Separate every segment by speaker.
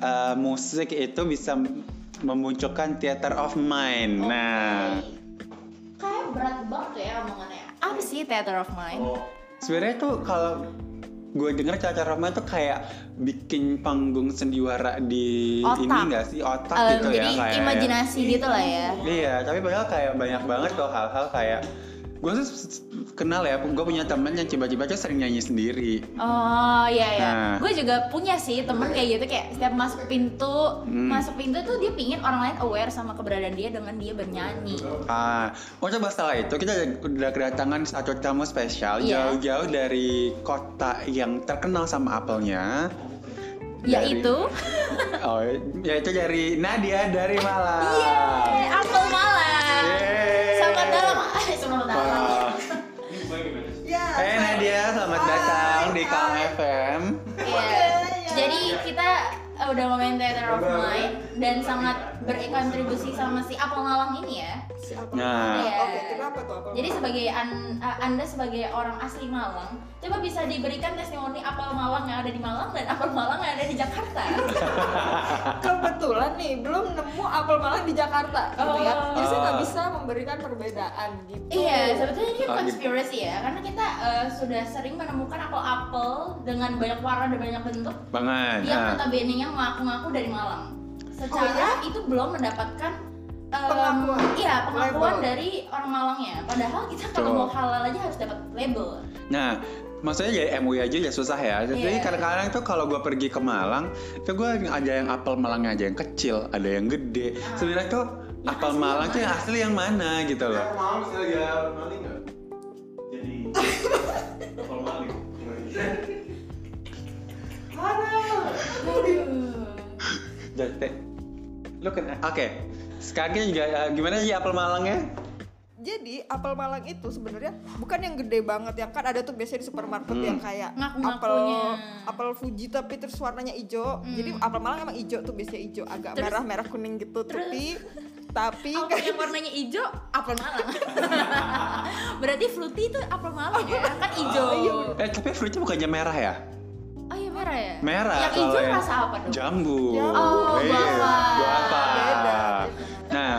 Speaker 1: eh, musik itu bisa memunculkan theater of
Speaker 2: Oh.
Speaker 1: mind. Nah,
Speaker 3: Kayak berat banget ya omongannya.
Speaker 2: Apa sih theater of mind?
Speaker 1: sebenarnya tuh kalau gue denger theater of mind tuh kayak bikin panggung sendiwara di
Speaker 2: Otak.
Speaker 1: ini nggak sih otak
Speaker 2: Eh,
Speaker 1: gitu
Speaker 2: jadi
Speaker 1: ya kayak.
Speaker 2: imajinasi gitu lah ya.
Speaker 1: Iya, tapi padahal kayak banyak banget tuh hal-hal kayak gue tuh s- s- kenal ya, gue punya temen yang tiba-tiba aja sering nyanyi sendiri.
Speaker 2: Oh iya ya,
Speaker 1: Nah.
Speaker 2: gue juga punya sih temen kayak gitu kayak setiap masuk pintu,
Speaker 1: Hmm.
Speaker 2: masuk pintu tuh dia pingin orang lain aware sama keberadaan dia dengan dia bernyanyi.
Speaker 1: Ah, untuk masalah itu kita ada- udah kedatangan satu tamu spesial
Speaker 2: Iya.
Speaker 1: jauh-jauh dari kota yang terkenal sama apelnya. Dari-
Speaker 2: Yaitu,
Speaker 1: Oh, yaitu dari Nadia dari Malang.
Speaker 2: yeay, Apel Malang.
Speaker 1: Yeay.
Speaker 2: Iya. Selamat dalam, eh, selamat dalam.
Speaker 1: Wah.
Speaker 3: Ya.
Speaker 1: Eh Nadia, selamat datang di Kang FM.
Speaker 2: Iya. Jadi kita eh, udah ngomongin theater of mind dan sangat berkontribusi sama si Apel Malang ini ya.
Speaker 1: Nah,
Speaker 2: Iya.
Speaker 4: Oke, kenapa tuh apa?
Speaker 2: Jadi sebagai an- eh, anda sebagai orang asli Malang, coba bisa diberikan testimoni apel Malang yang ada di Malang dan apel Malang yang ada di Jakarta.
Speaker 4: kebetulan nih belum nemu apel malang di Jakarta gitu ya. Jadi saya nggak bisa memberikan perbedaan gitu.
Speaker 2: Oh. iya, sebetulnya ini
Speaker 1: Oh, gitu.
Speaker 2: konspirasi ya, karena kita eh, sudah sering menemukan apel-apel dengan banyak warna dan banyak bentuk
Speaker 1: banget.
Speaker 2: yang
Speaker 1: Nah.
Speaker 2: notabene nya mengaku-ngaku dari Malang. Secara
Speaker 4: Oh, iya?
Speaker 2: itu belum mendapatkan em,
Speaker 4: Pengakuan.
Speaker 2: Iya, pengakuan
Speaker 4: Label.
Speaker 2: dari orang Malangnya. Padahal kita kalau
Speaker 1: Betul.
Speaker 2: mau halal aja harus dapat label.
Speaker 1: Nah, maksudnya jadi MUI aja ya susah ya. Jadi
Speaker 2: Iya.
Speaker 1: kadang-kadang tuh kalau gue pergi ke Malang, tuh gue ada yang apel Malangnya aja yang kecil, ada yang gede.
Speaker 2: Ah.
Speaker 1: Sebenarnya tuh
Speaker 2: Yang
Speaker 1: apel
Speaker 2: asli
Speaker 1: Malang
Speaker 2: yang
Speaker 1: tuh yang
Speaker 2: mana?
Speaker 1: asli yang mana gitu loh.
Speaker 5: Kalau malam misalnya dia maling nggak? Jadi kalau maling.
Speaker 1: Jadi, lu kena. Oke. Sekarang ini juga eh, gimana sih apel Malangnya?
Speaker 4: Jadi apel Malang itu sebenarnya bukan yang gede banget yang kan ada tuh biasanya di supermarket yang
Speaker 1: Hmm.
Speaker 4: kayak apel
Speaker 2: Ngaku-ngakunya.
Speaker 4: apel Fuji tapi terus warnanya hijau. Jadi
Speaker 2: Hmm.
Speaker 4: apel Malang emang hijau tuh biasanya hijau agak merah merah kuning gitu tapi tapi
Speaker 2: Apel yang warnanya hijau, apel Malang. Berarti fruity itu apel Malang ya, kan hijau.
Speaker 1: Eh tapi fruitnya bukannya merah ya?
Speaker 2: Oh iya merah ya?
Speaker 1: Merah.
Speaker 2: Yang
Speaker 1: kalau
Speaker 2: hijau rasa apa dong?
Speaker 1: Jambu. Iya,
Speaker 4: Jambu.
Speaker 2: Oh, guava.
Speaker 1: guava.
Speaker 4: Beda.
Speaker 1: Nah,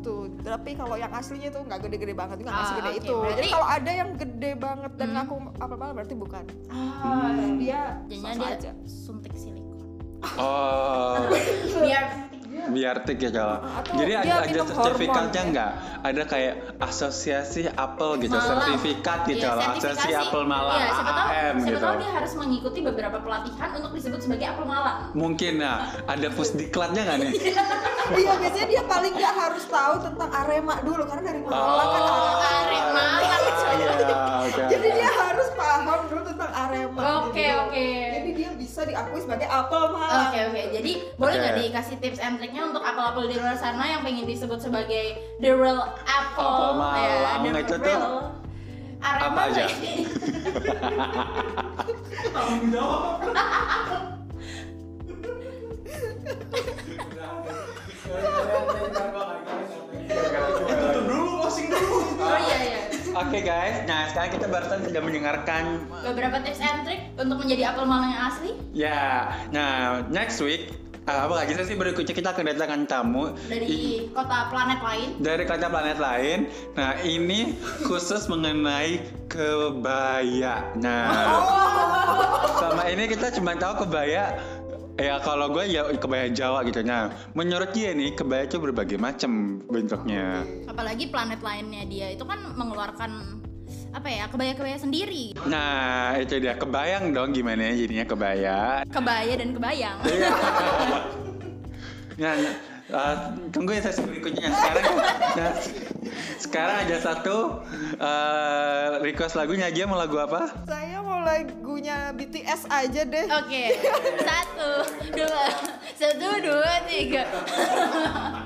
Speaker 4: tuh tapi kalau yang aslinya tuh nggak gede-gede banget nggak
Speaker 2: Ah,
Speaker 4: segede
Speaker 2: oke,
Speaker 4: itu jadi
Speaker 2: berarti- Hmm.
Speaker 4: kalau ada yang gede banget dan ngaku apel Malang berarti bukan
Speaker 2: Ah,
Speaker 4: dia
Speaker 2: jadinya
Speaker 4: sama
Speaker 2: dia
Speaker 4: aja
Speaker 2: suntik silikon.
Speaker 1: oh.
Speaker 2: Biar
Speaker 1: biartik ya kalau
Speaker 4: Atau
Speaker 1: jadi
Speaker 4: dia
Speaker 1: ada ada
Speaker 4: minum
Speaker 1: sertifikatnya
Speaker 4: hormon,
Speaker 1: nggak ada kayak asosiasi apel gitu
Speaker 2: Malang.
Speaker 1: sertifikat gitu
Speaker 2: Iya,
Speaker 1: loh asosiasi
Speaker 2: sertifikasi.
Speaker 1: apel malang
Speaker 2: Iya, siapa tahu,
Speaker 1: AAM
Speaker 2: siapa
Speaker 1: gitu
Speaker 2: tahu dia harus mengikuti beberapa pelatihan untuk disebut sebagai apel malang.
Speaker 1: mungkin nah ada pusdiklatnya nggak nih
Speaker 4: iya biasanya dia paling nggak harus tahu tentang Arema dulu karena dari Malang kan
Speaker 2: Oh,
Speaker 4: Arema
Speaker 2: Arema.
Speaker 1: iya oke
Speaker 4: jadi dia harus paham dulu tentang Arema
Speaker 2: Oke,
Speaker 4: gitu.
Speaker 2: oke.
Speaker 4: jadi dia bisa diakui sebagai apel Malang
Speaker 2: Oke oke, jadi boleh nggak
Speaker 1: Oke.
Speaker 2: dikasih tips and triknya untuk apel-apel di luar sana yang pengen disebut sebagai the real apple, Ya,
Speaker 1: Apel Malang
Speaker 2: the
Speaker 1: itu tuh
Speaker 2: real Arema
Speaker 1: apa aja?
Speaker 2: tuh-
Speaker 5: Tanggung jawab. Tutup dulu, closing dulu.
Speaker 2: Oh iya iya.
Speaker 1: oke guys nah sekarang kita barusan sudah mendengarkan
Speaker 2: Beberapa tips and trik untuk menjadi apel malang yang asli.
Speaker 1: ya nah next week eh, apa lagi sih berikutnya kita kedatangan tamu I-
Speaker 2: dari kota planet lain.
Speaker 1: dari kaca planet lain. Nah, ini khusus mengenai kebaya. Nah, selama ini kita cuma tahu kebaya ya kalau gue ya kebaya Jawa gitu. Nah, menurut dia nih kebaya itu berbagai macam bentuknya.
Speaker 2: Apalagi planet lainnya dia itu kan mengeluarkan apa ya kebaya-kebaya sendiri,
Speaker 1: Nah, itu dia kebayang dong gimana jadinya kebaya.
Speaker 2: kebaya dan kebayang.
Speaker 1: Iya. nah, eh, tunggu ya sesi berikutnya. Sekarang, nah, sekarang ada satu eh, request lagunya aja mau lagu apa?
Speaker 4: saya mau lagunya BTS aja
Speaker 2: Oh,
Speaker 4: deh
Speaker 2: Oke, satu, dua, satu, dua, tiga.